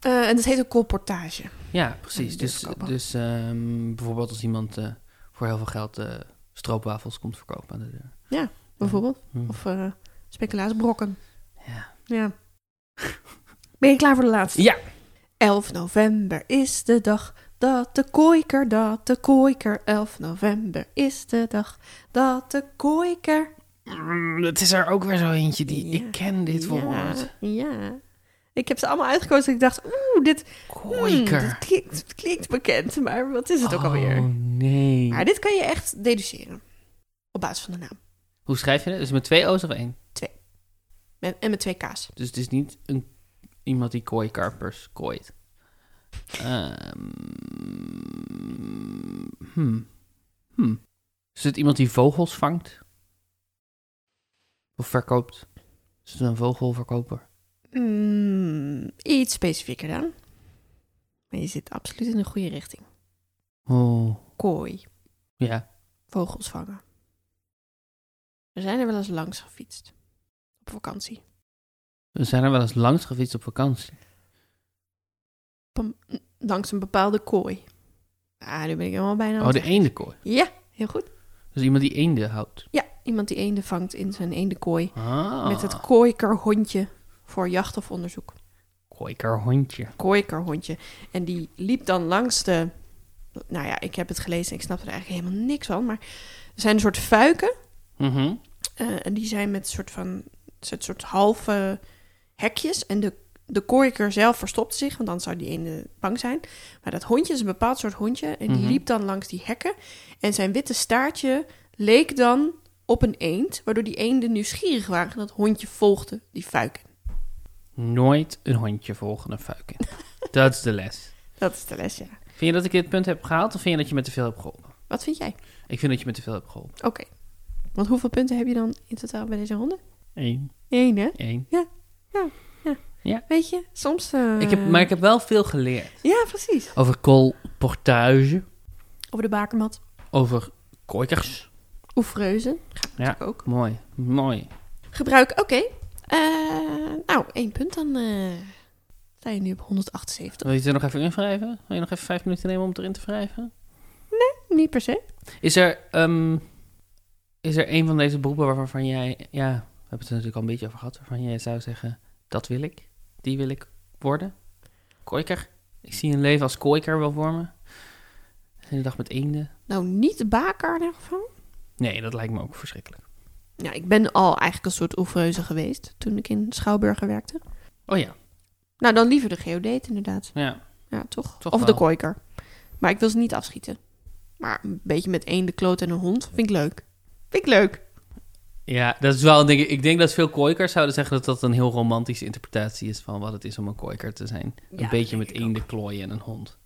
Eh, en dat heet ook colportage. Ja, precies. Ja, dus verkopen. dus ehm, bijvoorbeeld als iemand eh, voor heel veel geld eh, stroopwafels komt verkopen aan de deur. bijvoorbeeld. Hm. Of eh speculaasbrokken. Ja. Ja. [laughs] Ben je klaar voor de laatste? Ja. 11 november is de dag dat de kooiker, dat de kooiker. 11 november is de dag dat de kooiker. Mm, het is er ook weer zo eentje die... Ja. Ik ken dit Ja, woord. Ja. Ik heb ze allemaal uitgekozen. Ik dacht, oeh, dit, hmm, Koiker. dit klinkt, dit klinkt bekend, maar wat is het ook Oh, alweer? nee. Maar dit kan je echt deduceren. Op basis van de naam. Hoe schrijf je dat? Is het met twee O's of één? Met, en met twee K's. Dus het is niet een, iemand die kooikarpers kooit. Ehm hmm. Hmm. Is het iemand die vogels vangt? Of verkoopt? Is het een vogelverkoper? Mm, iets specifieker dan. Maar je zit absoluut in de goede richting. Oh, Kooi, ja. vogels vangen. We zijn er wel eens langs gefietst. Op vakantie. We zijn er wel eens langs gefietst op vakantie. Op een- langs een bepaalde kooi. Ah, nu ben ik helemaal bijna... aan Oh, het de eendenkooi. Ja, heel goed. Dus iemand die eenden houdt. Ja, iemand die eenden vangt in zijn eendenkooi. Ah, Met het kooikerhondje voor jacht of onderzoek. kooikerhondje. kooikerhondje. En die liep dan langs de... Nou ja, ik heb het gelezen en ik snap er eigenlijk helemaal niks van. Maar er zijn een soort fuiken. Mhm. eh, en die zijn met soort van... soort, soort halve hekjes. En de, de kooiker zelf verstopte zich. Want dan zou die ene bang zijn. Maar dat hondje is een bepaald soort hondje. En die Mhm. liep dan langs die hekken. En zijn witte staartje leek dan op een eend. Waardoor die eenden nieuwsgierig waren. En dat hondje volgde die fuiken. Nooit een hondje volgen een fuik [laughs] in. Dat is de les. Dat is de les, ja. Vind je dat ik dit punt heb gehaald of vind je dat je me te veel hebt geholpen? Wat vind jij? Ik vind dat je me te veel hebt geholpen. Oké. Want hoeveel punten heb je dan in totaal bij deze ronde? Eén. Eén, hè? Eén. Weet je, soms... eh, Ik heb, maar ik heb wel veel geleerd. Ja, precies. Over colportage, Over de bakermat. over koikers. Oefreuzen. Ja, Ook. mooi. Mooi. Gebruik, oké. Eh, nou, één punt, dan eh sta je nu op 178. Wil je het er nog even in wrijven? Wil je nog even vijf minuten nemen om het erin te wrijven? Niet per se. Is er, ehm, is er een van deze beroepen waarvan jij... Ja, we hebben het er natuurlijk al een beetje over gehad. Waarvan jij zou zeggen, dat wil ik. Die wil ik worden. Koiker. Ik zie een leven als koiker wel voor me. De hele dag met eenden. Nou, niet de baker in ieder geval. Nee, dat lijkt me ook verschrikkelijk. Ja, ik ben al eigenlijk een soort oefreuze geweest toen ik in Schouwburger werkte. Oh ja, Nou, dan liever de geodeet inderdaad. ja. Ja, toch? Toch of de wel. koiker. Maar ik wil ze niet afschieten. Maar een beetje met één de kloot en een hond vind ik leuk. Vind ik leuk. Ja, dat is wel, denk ik, ik denk dat veel kooikers zouden zeggen dat dat een heel romantische interpretatie is van wat het is om een kooiker te zijn. een Ja, beetje denk met ik ook. eenden klooien en een hond.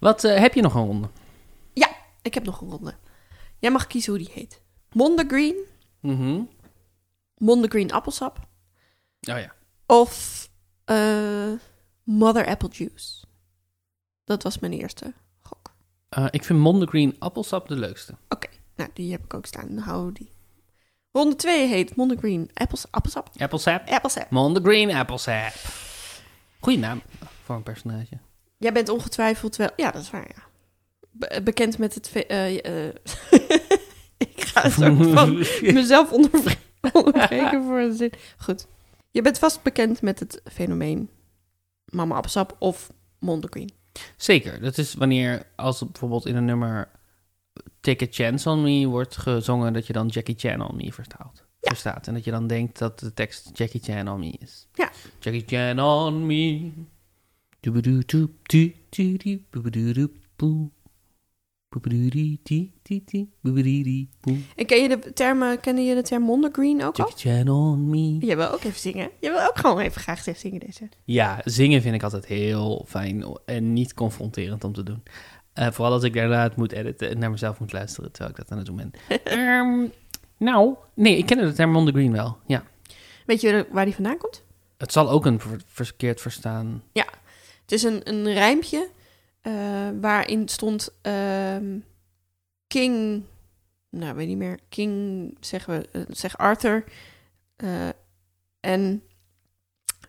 wat eh, heb je nog een ronde? [laughs] Ik heb nog een ronde. Jij mag kiezen hoe die heet. Mondegreen, Mhm. Mondegreen appelsap Oh ja. of eh, Mother Apple Juice. Dat was mijn eerste gok. Eh, ik vind Mondegreen appelsap de leukste. Nou, die heb ik ook staan. Dan houden we die. Ronde 2 heet Mondegreen appels, appelsap. Appelsap? Appelsap. Mondegreen appelsap. Goeie naam voor een personage. Jij bent ongetwijfeld wel... Ja, dat is waar, ja. Be- eh, bekend met het... ve- eh, [laughs] eh, ik ga het ook [laughs] van... mezelf ondervre- onderbreken voor een zin. Goed. Je bent vast bekend met het fenomeen mama appelsap of mondegreen. Zeker, dat is wanneer als het bijvoorbeeld in een nummer Take a Chance on Me wordt gezongen, dat je dan Jackie Chan on Me vertaalt. Ja. Verstaat. En dat je dan denkt dat de tekst Jackie Chan on Me is. Ja. Jackie Chan on me. Doebedoedoep, doe, doe, doe, boebedoedoep, boe. Boebedoedie, die, die, die, boebediedie, boe. En ken je de termen, kende je de term mondegreen ook al? Jackie Chan on me. Je wil ook even zingen. Je wil ook gewoon even graag even zingen deze. Ja, zingen vind ik altijd heel fijn en niet confronterend om te doen. Eh, vooral als ik daarna het moet editen en naar mezelf moet luisteren terwijl ik dat aan het [laughs] doen ben. Ehm, nou, nee, ik ken het term on the green wel. Ja. Weet je waar die vandaan komt? Het zal ook een ver- verkeerd verstaan. Het is een, een rijmpje eh, waarin stond ehm, King nou weet niet meer, King, zeggen we, eh, zeg Arthur. eh, en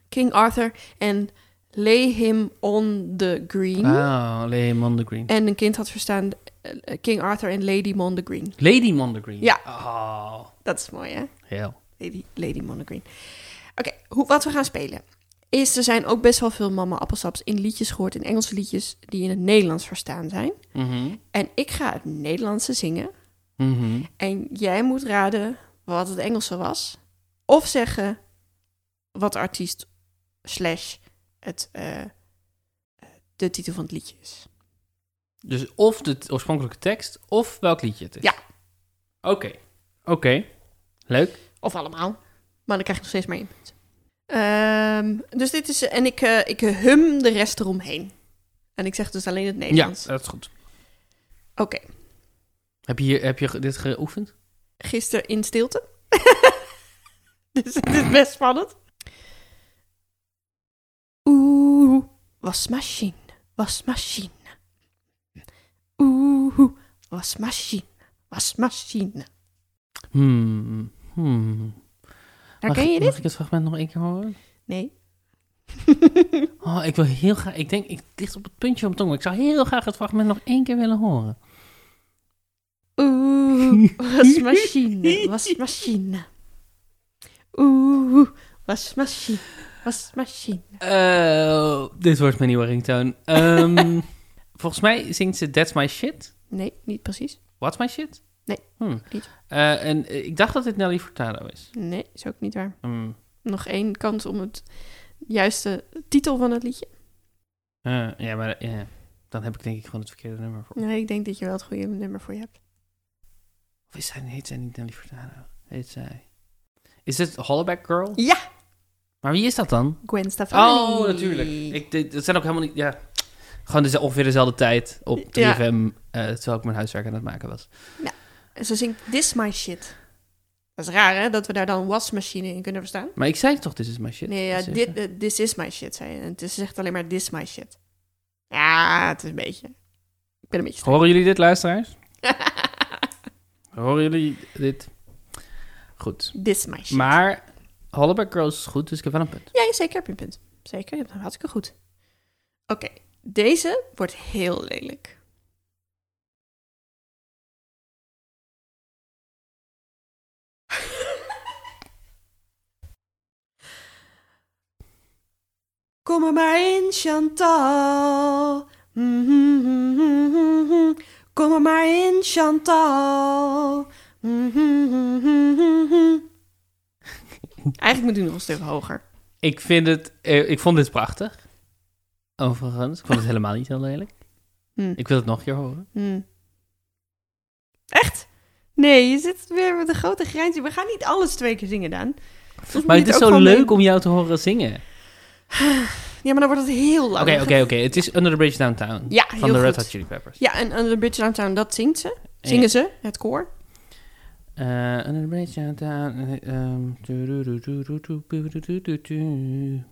King Arthur en lay him on the green. Ah, Lady Mondegreen. En een kind had verstaan eh, King Arthur en Lady Mondegreen. Lady Mondegreen. Ja. Oh, Dat is mooi, hè? hell. Lady, Lady Monogreen. Oké, hoe- wat we gaan spelen is, er zijn ook best wel veel mama appelsaps in liedjes gehoord, in Engelse liedjes, die in het Nederlands verstaan zijn. Mhm. En ik ga het Nederlandse zingen Mhm. en jij moet raden wat het Engelse was. Of zeggen wat de artiest slash het, eh, de titel van het liedje is. Dus of de t- oorspronkelijke tekst, of welk liedje het is. Ja. Oké. Oké. Leuk. Of allemaal. Maar dan krijg je nog steeds maar één punt. Ehm, dus dit is, en ik, eh, ik hum de rest eromheen. En ik zeg dus alleen het Ja, Nederlands. dat is goed. Oké. Heb je, hier, heb je ge- dit geoefend? gisteren in stilte. [laughs] dus het is best spannend. Oeh, wasmachine, wasmachine. Oeh, wasmachine, wasmachine. Hmm. Hmm. Herken mag, je dit? Mag ik het fragment nog één keer horen? Nee. [laughs] Oh, ik wil heel graag... Ik denk, ik ligt op het puntje van mijn tong. maar Ik zou heel graag het fragment nog één keer willen horen. Oeh, [laughs] wasmachine, wasmachine. Oeh, wasmachine, wasmachine. Eh, dit wordt mijn nieuwe ringtone. [laughs] Ehm, volgens mij zingt ze That's My Shit. Nee, niet precies. What's My Shit? Nee, Hmm. niet. Eh, en eh, ik dacht dat dit Nelly Furtado is. Nee, is ook niet waar. Hmm. nog één kans om het juiste titel van het liedje. Eh, ja, maar eh, dan heb ik denk ik gewoon het verkeerde nummer voor. Nee, ik denk dat je wel het goede nummer voor je hebt. Of is zij, heet zij niet Nelly Furtado? Heet zij... Is dit Hollaback Girl? Ja! Maar wie is dat dan? Gwen Stefani. Oh, natuurlijk. Ik, dit- dat zijn ook helemaal niet... Ja. Gewoon deze- ongeveer dezelfde tijd op 3FM, Ja. eh, terwijl ik mijn huiswerk aan het maken was. En ze zingt This My Shit. Dat is raar, hè? Dat we daar dan wasmachine in kunnen verstaan. Maar ik zei toch, dit is my shit. Nee, ja, Dat is dit, even- eh, This Is My Shit, zei je. En het is- ze zegt alleen maar This My Shit. Ja, het is een beetje... Ik ben een beetje... streng. Horen jullie dit, luisteraars? Horen jullie dit? Goed. [laughs] This My Shit. Maar Hollaback Girls is goed, dus ik heb wel een punt. Ja, zeker heb je een punt. Zeker, je hebt hem hartstikke goed. Oké, deze wordt heel lelijk. [laughs] Kom er maar in, Chantal. [laughs] Kom er maar in, Chantal. [laughs] Eigenlijk moet ik nog een stuk hoger. Ik vind het... eh, ik vond dit prachtig. Overigens. Ik vond het helemaal niet heel lelijk. Hm. Ik wil het nog een keer horen. Hmm. Echt? Nee, je zit weer met een grote grijns. We gaan niet alles twee keer zingen, Daan. Dus moet Maar je het is ook zo gewoon leuk mee- om jou te horen zingen. Ja, maar dan wordt het heel lang. Oké, oké, oké. Het is Under the Bridge Downtown. Ja, Van heel de Red goed. Hot Chili Peppers. Ja, en Under the Bridge Downtown, dat zingt ze. Zingen ze, het koor. Eh, Under the Bridge Downtown. eh, ehm, tu-du-du-du-du-du-du-du-du-du-du.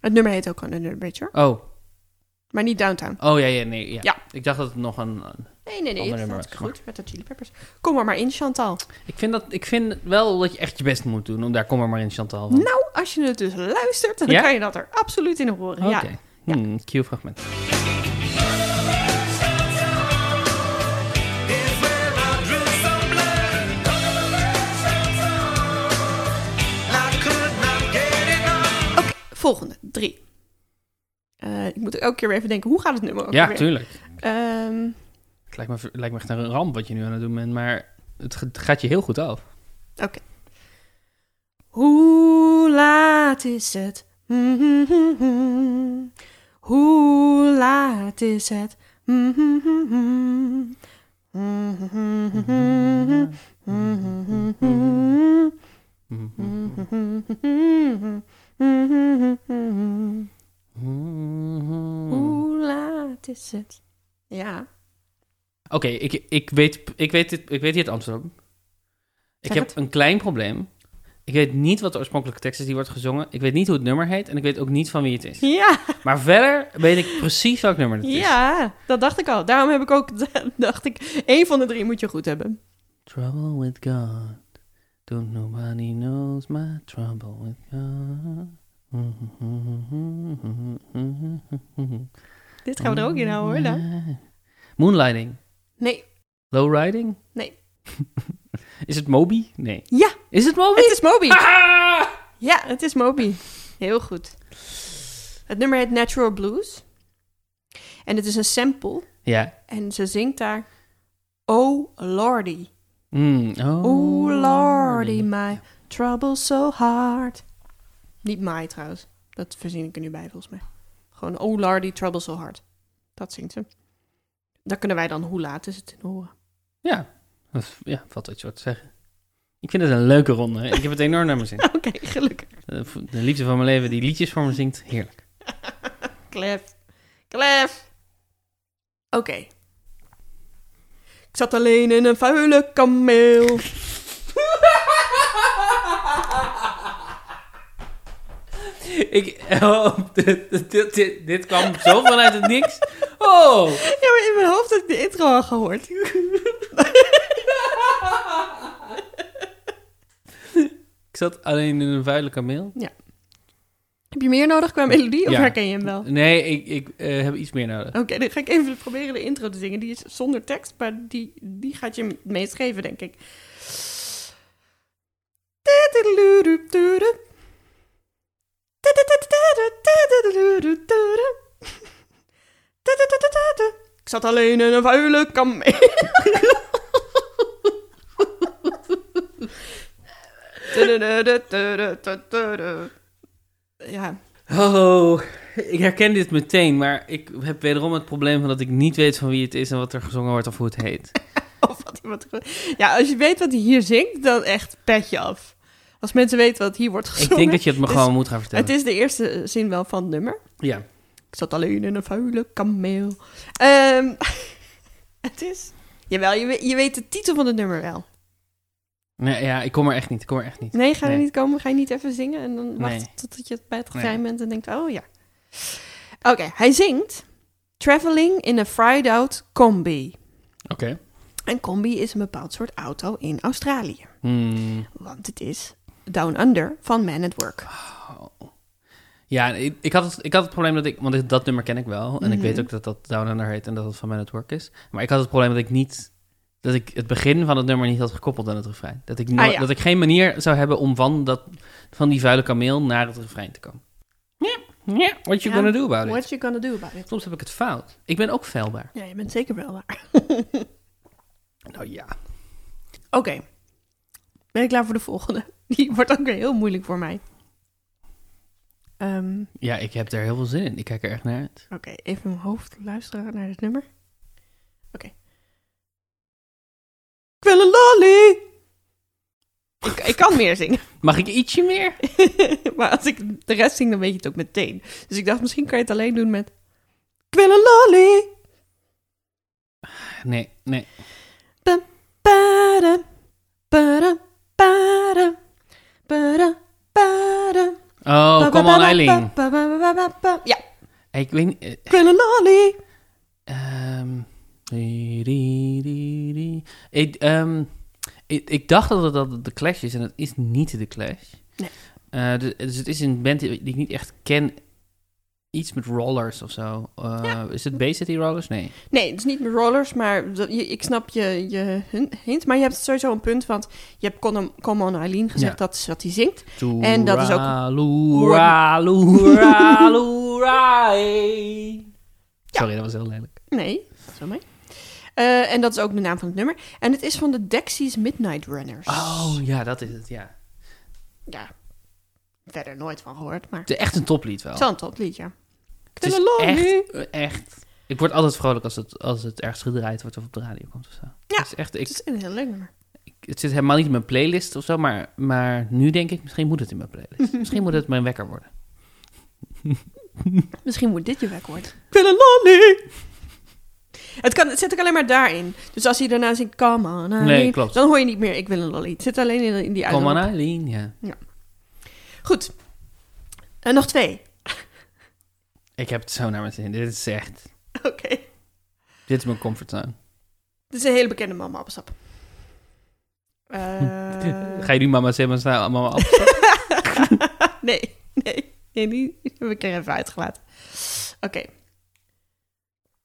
Het nummer heet ook gewoon Under the Bridge, hoor. Oh, Maar niet Downtown. oh ja, ja, nee. Ja. Ja. Ik dacht dat het nog een... Nee, nee, nee. Ander nummer, Het gaat hartstikke maar- goed met de Chili Peppers. Kom maar maar in, Chantal. Ik vind, dat, ik vind wel dat je echt je best moet doen. Om daar kom er maar in, Chantal. van. Nou, als je het dus luistert, dan Ja? kan je dat er absoluut in horen. Oké. Ja. Hmm, cue fragment. Volgende, drie. Eh, ik moet elke keer weer even denken, hoe gaat het nummer ook Ja, weer? tuurlijk. Ehm, Het lijkt me, het lijkt me echt een ramp wat je nu aan het doen bent. Maar het ge- het gaat je heel goed af. Hoe laat is het? Mhm. Hoe laat is het? Mhm. Oké, Hoe laat is het? Ja. ik, ik, weet, ik, weet dit- ik weet hier het antwoord op. Ik Zeg heb het. een klein probleem. Ik weet niet wat de oorspronkelijke tekst is die wordt gezongen. Ik weet niet hoe het nummer heet. En ik weet ook niet van wie het is. Ja, Maar verder weet ik precies welk nummer het is. [laughs] ja, dat dacht ik al. Daarom heb ik ook, dacht ik, één van de drie moet je goed hebben. Trouble with God. Don't nobody knows my trouble with God. Dit gaan we er ook in houden, Mm-hmm. hoor. Dan. Moonlighting. Nee, Low riding? Nee. [laughs] is het Moby? Nee. Ja. Is het Moby? het is Moby. [laughs] Ah! Ja, het is Moby. Heel goed. Het nummer heet Natural Blues. En het is een sample. Ja. En ze zingt daar... Oh lordy, Mm. Oh, oh lordy, my trouble so hard. Niet my trouwens. Dat verzin ik er nu bij volgens mij. Gewoon oh lordy, trouble so hard. Dat zingt ze. Dan kunnen wij dan hoe laat is het in horen. [laughs] Ja. Dat is- ja, valt wat je wat te zeggen. Ik vind het een leuke ronde. Ik heb het enorm naar mijn zin. Oké, gelukkig. De de liefde van mijn leven die liedjes voor me zingt. Heerlijk. Klef. Klef. Oké. Ik zat alleen in een vuile kameel. [laughs] Ik, oh, dit, dit, dit, dit kwam zo vanuit het niks. Oh. Ja, maar in mijn hoofd heb ik de intro al [laughs] gehoord. Ik zat alleen in een vuile kameel. heb je meer nodig qua melodie of Ja. herken je hem wel? Nee, ik, ik eh, heb iets meer nodig. Oké, dan ga ik even proberen de intro te zingen. Die is zonder tekst, maar die, die gaat je het meest geven, denk ik. Ik zat alleen in een vuile kameel. [laughs] Ja, Oh, ik herken dit meteen, maar ik heb wederom het probleem van dat ik niet weet van wie het is en wat er gezongen wordt of hoe het heet. [laughs] Of wat iemand ge- Ja, als je weet wat hij hier zingt, dan echt petje af. Als mensen weten wat hier wordt gezongen. ik denk dat je het me Dus gewoon moet gaan vertellen. Het is de eerste eh, zin wel van het nummer. Ja. Ik zat alleen in een vuile kameel. Ehm, [laughs] het is... Jawel, je, we- je weet de titel van het nummer wel. Nee, ja, ik kom er echt niet, ik kom er echt niet. Nee, ga je Nee. niet komen? Ga je niet even zingen? En dan wacht Nee. totdat je het bij het Nee. refrein bent en denkt, oh ja. Oké, hij zingt... Traveling in a fried out combi. Oké. Een combi is een bepaald soort auto in Australië. Hmm. Want het is Down Under van Man at Work. Oh. Ja, ik, ik had het, ik had het probleem dat ik... Want dit- dat nummer ken ik wel. En ik Mhm. weet ook dat dat Down Under heet en dat het van Man at Work is. Maar ik had het probleem dat ik niet... Dat ik het begin van het nummer niet had gekoppeld aan het refrein. Dat ik, nooit- Ah, ja. dat ik geen manier zou hebben om van, dat, van die vuile kameel naar het refrein te komen. Ja, ja. What you Ja. gonna do about it? What you gonna do about it? Soms heb ik het fout. Ik ben ook feilbaar. Ja, je bent zeker wel waar. Nou ja. Oké. Ben ik klaar voor de volgende? [laughs] Die wordt ook weer heel moeilijk voor mij. Ehm, Ja, ik heb er heel veel zin in. Ik kijk er echt naar uit. Oké, even in mijn hoofd luisteren naar dit nummer. Oké. Ik wil een lolly! Ik, ik kan meer zingen. [laughs] Mag ik ietsje meer? maar als ik de rest zing, dan weet je het ook meteen. Dus ik dacht, misschien kan je het alleen doen met... Ik wil een lolly! Nee, nee. Ba-da, ba-da, ba-da, ba-da, ba-da. Oh, kom on, Eileen. Ba- ba- ba- ba- ba- ba- Ja, Ik weet niet... eh, ik wil een lolly. ehm, di- di- di- di. Ik, ehm, ik, ik dacht dat het, dat het de Clash is en het is niet de Clash. Nee. Eh, dus, dus het is een band die ik niet echt ken. Iets met rollers of zo. Eh, Is het Bay City Rollers? Nee. Nee, het is niet met rollers, maar dat- je- ik snap je, je hun- hint. Maar je hebt sowieso een punt, want je hebt Con- Come on, Eileen gezegd, Ja. dat is wat hij zingt. En dat is ook- Loera, [laughs] loera, loera, hey. Sorry, dat was heel lelijk. Nee, dat is wel mee. Eh, en dat is ook de naam van het nummer. En het is van de Dexys Midnight Runners. Oh, ja, dat is het, ja. Ja, verder nooit van gehoord, maar Het is echt een toplied wel. het is wel een toplied, ja. Ik het is wil een lolly. echt, eh, echt... Ik word altijd vrolijk als het, als het ergens gedraaid wordt of op de radio komt of zo. Het, is echt, Het ik, is een heel leuk nummer. ik- het zit helemaal niet in mijn playlist of zo, maar, maar nu denk ik, misschien moet het in mijn playlist. misschien moet het mijn wekker worden. Misschien moet dit je weg worden. Ik wil een lolly. Het, kan, het zit ook alleen maar daarin. Dus als hij daarna zingt, come on, Eileen, Nee, klopt. dan hoor je niet meer, ik wil een lolly. Het zit alleen in, in die Kom uitdruk. aan, Eileen, ja. Goed. En nog twee. Ik heb het zo naar mijn zin. Dit is echt... Oké. Dit is mijn comfortzone. Dit is een hele bekende mama appelsap. Eh, Ga je nu mama zeggen, maar mama af? [laughs] nee, nee, nee, die heb ik er even uitgelaten. Oké.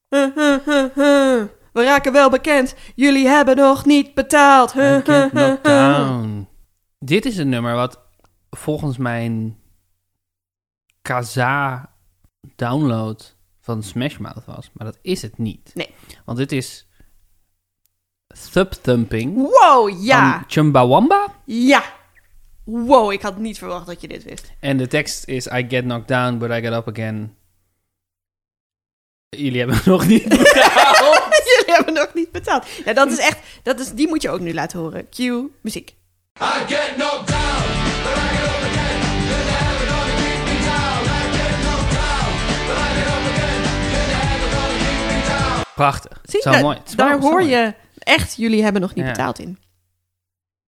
Huh, huh, huh, huh. We raken wel bekend. Jullie hebben nog niet betaald. Huh, I get huh, [laughs] huh, knocked huh. down. Dit is een nummer wat volgens mijn Kaza download van Smash Mouth was. Maar dat is het niet. Nee. Want dit is Thub Thumping Wow, ja. van Chumbawamba. Ja. Wow, ik had niet verwacht dat je dit wist. En de tekst is I get knocked down, but I get up again. Jullie hebben het [laughs] nog niet Oh. betaald. [laughs] Jullie hebben nog niet betaald. Ja, dat is echt... Dat is, die moet je ook nu laten horen. Cue muziek. I get knocked down, but I get up again. Then the heaven gonna keep me down. I get knocked down, but I get up again. Then the heaven gonna keep me down. Prachtig. Zie, zo nou, mooi. Het is daar wel- zo hoor mooi. je echt jullie hebben nog niet Ja. betaald in.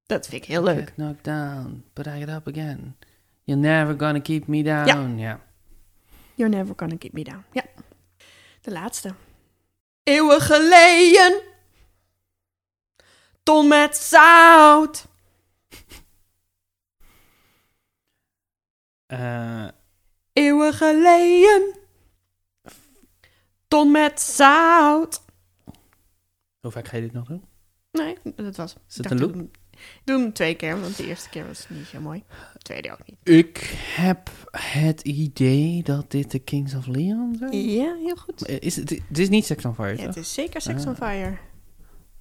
Dat vind ik heel I leuk. get knocked down, but I get up again. You're never gonna keep me down. ja. You're never gonna keep me down. Ja. De laatste. Eeuwen geleden. Ton met zout. Eh, Eeuwen geleden. Ton met zout. hoe vaak ga je dit nog doen? Nee, dat was. Is het Ik dacht, een doe loop? hem- Doe hem twee keer, want de eerste keer was niet zo mooi. De tweede ook niet. Ik heb het idee dat dit de Kings of Leon zijn. Ja, heel goed. Eh, Is het, het is niet Sex on Fire, Ja, het toch? is zeker Sex on Fire.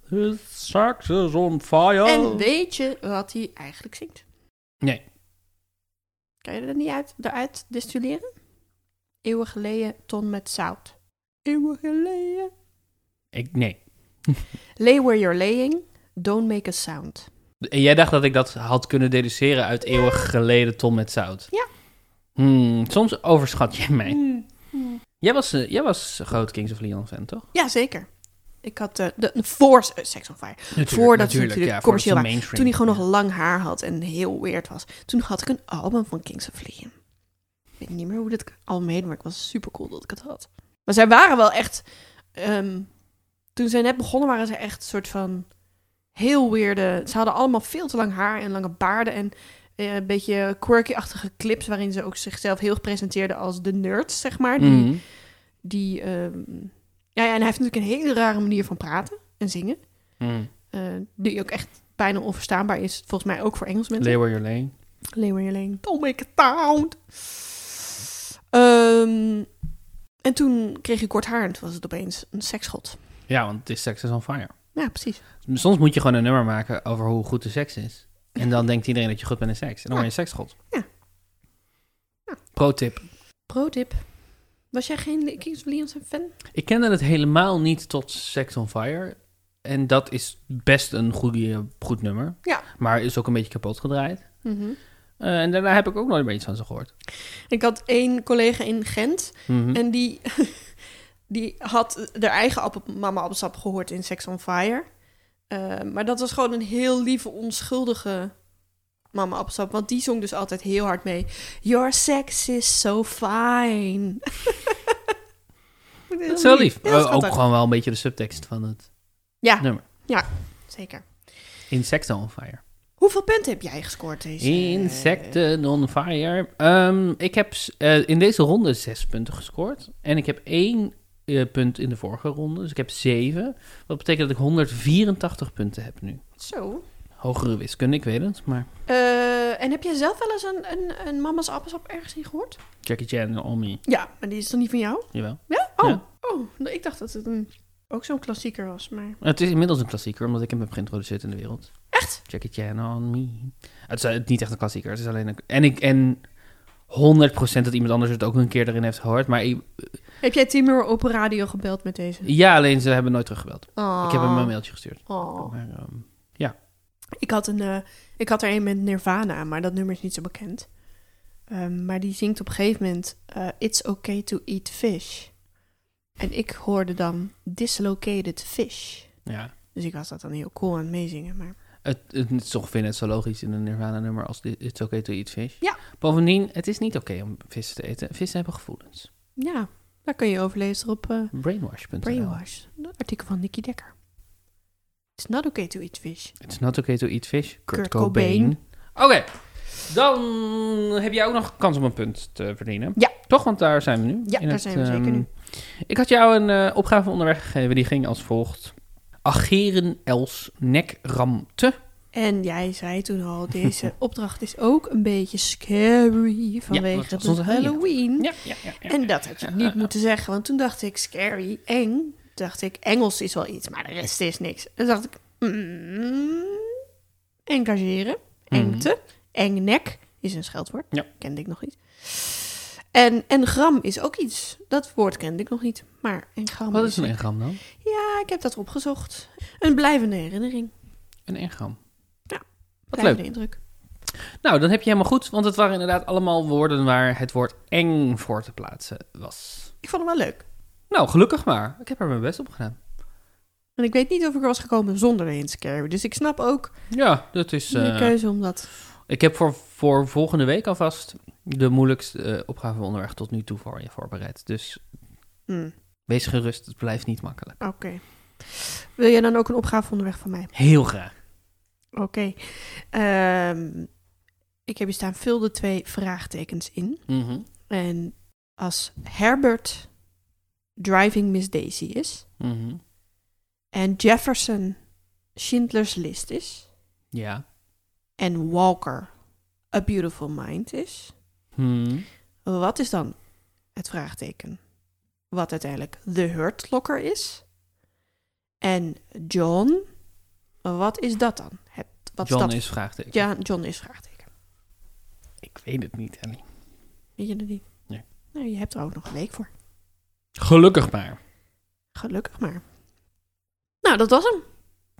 Is Sex is on Fire. En weet je wat hij eigenlijk zingt? Nee. Kan je dat niet uit, eruit distilleren? Eeuwen geleden, ton met zout. Eeuwen geleden. Ik, nee. Lay where you're laying, don't make a sound. En jij dacht dat ik dat had kunnen deduceren uit eeuwig geleden Tom met Zout. Ja. Hmm, soms overschat jij mij. Hmm. Jij was, eh, jij was een groot Kings of Leon fan, toch? Ja, zeker. Ik had eh, de, voor eh, Sex on Fire. Voordat ze natuurlijk ja, commercieel voordat ze waren. mainstream- Toen hij gewoon nog lang haar had en heel weird was. Toen had ik een album van Kings of Leon. Ik weet niet meer hoe dat album heet, maar ik was super cool dat ik het had. Maar zij waren wel echt... ehm, toen zij net begonnen waren ze echt een soort van heel weirde... Ze hadden allemaal veel te lang haar en lange baarden en eh, een beetje quirky-achtige clips... waarin ze ook zichzelf heel presenteerden als de nerds, zeg maar. Die Mhm. die. ehm, ja, ja, en hij heeft natuurlijk een hele rare manier van praten en zingen. Mhm. eh, die ook echt bijna onverstaanbaar is. Volgens mij ook voor Engels mensen. Lay Where You're Laying. Leeuwen Jelene. Don't make a sound. Ehm, en toen kreeg ik kort haar en toen was het opeens een seksgod. Ja, want het is Sex is on Fire. Ja, precies. Soms moet je gewoon een nummer maken over hoe goed de seks is. En dan denkt iedereen dat je goed bent in seks. En dan word je een seksgod. Ja. Ja. Pro tip. Pro tip. Was jij geen Kings of Leon fan? Ik kende het helemaal niet tot Sex on Fire. En dat is best een goede, goed nummer. Ja. Maar is ook een beetje kapot gedraaid. Eh, en daarna heb ik ook nooit meer iets van ze gehoord. Mhm. Ik had één collega in Gent Mhm. En die, [laughs] die had haar eigen appel, mama appelsap gehoord in Sex on Fire. Eh, maar dat was gewoon een heel lieve, onschuldige mama appelsap. Want die zong dus altijd heel hard mee. Your sex is [laughs] so fine. Dat is wel lief. Heel Eh, ook schattig. gewoon wel een beetje de subtekst van het Ja, nummer. zeker. Insecten on Fire. Hoeveel punten heb jij gescoord deze? Insecten on Fire. Ehm, ik heb s- eh, in deze ronde zes punten gescoord. En ik heb één eh, punt in de vorige ronde. Dus ik heb zeven. Wat betekent dat ik 184 punten heb nu. Zo. Hogere wiskunde, ik weet het. Maar Eh, en heb jij zelf wel eens een, een, een mama's appelsap ergens in gehoord? Jackie Chan en Omi, Ja, maar die is toch niet van jou? jawel. Ja? Oh, Ja. oh nou, ik dacht dat het een, ook zo'n klassieker was, maar... Het is inmiddels een klassieker, omdat ik hem heb geïntroduceerd in de wereld. Echt? Jackie Chan on me. Het is eh, niet echt een klassieker. Het is alleen een... En ik... En 100% dat iemand anders het ook een keer erin heeft gehoord. Maar ik- Heb jij Timur Open Radio gebeld met deze? ja, alleen ze hebben nooit teruggebeld. Oh. Ik heb hem een mailtje gestuurd. Oh. Maar, ehm, Ik, had een, eh, ik had er een met Nirvana, maar dat nummer is niet zo bekend. Ehm, maar die zingt op een gegeven moment... eh, It's okay to eat fish. En ik hoorde dan dislocated fish. ja. Dus ik was dat dan heel cool aan het meezingen. Maar... Het, het is toch vind net zo logisch in een Nirvana-nummer als dit- It's Okay To Eat Fish. Ja. Bovendien, het is niet oké om vissen te eten. Vissen hebben gevoelens. Ja, daar kun je over lezen op eh Brainwash.nl Brainwash. Een artikel van Nicky Dekker. It's not okay to eat fish. It's not okay to eat fish. Kurt, Kurt Cobain. Cobain. Oké, dan heb jij ook nog kans om een punt te verdienen. Ja. Toch, want daar zijn we nu. Ja, daar zijn we zeker ehm, nu. Ik had jou een eh, opgave onderweg gegeven, die ging als volgt. Ageren els nek ramte. En jij zei toen al, deze opdracht is ook een beetje scary dat vanwege was de onze Halloween. Ja, ja, ja. ja. Hm? En dat had je niet moeten zeggen, want toen dacht ik scary, eng. Dacht ik, Engels is wel iets, maar de rest is niks. En dacht ik, mm, engageren, engte, engnek is een scheldwoord. Mhm. Ja. Kende ik nog niet. En, en gram is ook iets, dat woord kende ik nog niet. Maar engram Wat is een e? engram dan? Ja, ik heb dat opgezocht. Een blijvende herinnering. Een engram. blijvende indruk. Nou, dan heb je helemaal goed, want het waren inderdaad allemaal woorden waar het woord eng voor te plaatsen was. Ik vond hem wel leuk. Nou, gelukkig maar. Ik heb er mijn best op gedaan. En ik weet niet of ik er was gekomen zonder de hint scary. Dus ik snap ook Ja, dat is... de eh, keuze om dat... Ik heb voor, voor volgende week alvast de moeilijkste eh, opgave van onderweg tot nu toe voor je voorbereid. Dus Hmm, wees gerust, het blijft niet makkelijk. Oké. Wil jij dan ook een opgave onderweg van mij? Heel graag. Oké. Ehm, ik heb hier staan, vul de twee vraagtekens in. Mhm. En als Herbert Driving Miss Daisy is... Mhm. en Jefferson Schindler's List is... Ja. en Walker A Beautiful Mind is... Hmm. Wat is dan het vraagteken? Wat uiteindelijk de Hurt Locker is? En John, wat is dat dan? Het, wat John is dat? is vraagteken. Ja, John is vraagteken. Ik weet het niet, Ellie. Weet je dat niet? Nee. Nou, je hebt er ook nog een week voor. Gelukkig maar. Gelukkig maar. Nou, dat was hem.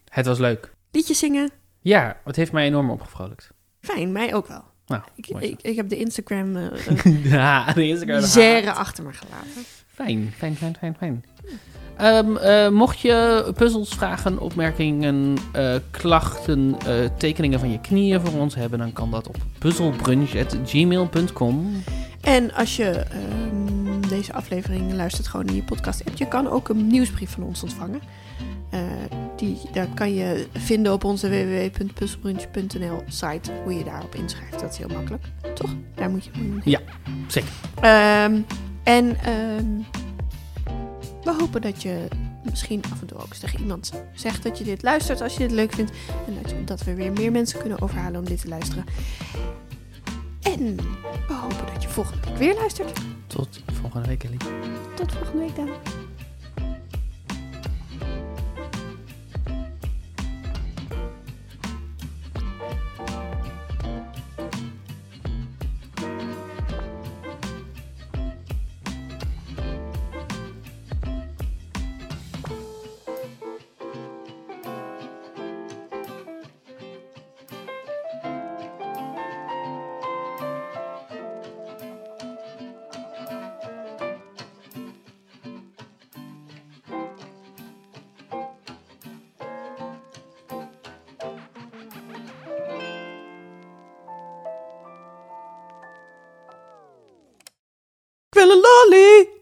Het was leuk. Liedje zingen. Ja, het heeft mij enorm opgevrolijkt. [laughs] Fijn, mij ook wel. Nou, Ik, mooi zo. ik, ik heb de Instagram eh, eh, ja, de [laughs] Instagram. misère achter me gelaten. Fijn, fijn, fijn, fijn, fijn. Ehm, eh, mocht je puzzels, vragen, opmerkingen, eh, klachten, eh, tekeningen van je knieën voor ons hebben, dan kan dat op puzzelbrunch.gmail.com. En als je ehm, deze aflevering luistert gewoon in je podcast-app, je kan ook een nieuwsbrief van ons ontvangen. Eh, die, daar kan je vinden op onze www.puzzelbrunch.nl site hoe je daarop inschrijft. Dat is heel makkelijk, toch? Daar moet je moet je- Ja, zeker. Ehm, en ehm, we hopen dat je misschien af en toe ook eens tegen iemand zegt dat je dit luistert als je dit leuk vindt. En dat, je- dat we weer meer mensen kunnen overhalen om dit te luisteren. En we hopen dat je volgende week weer luistert. Tot volgende week, Ellie. Tot volgende week dan. Ik wil een lolly!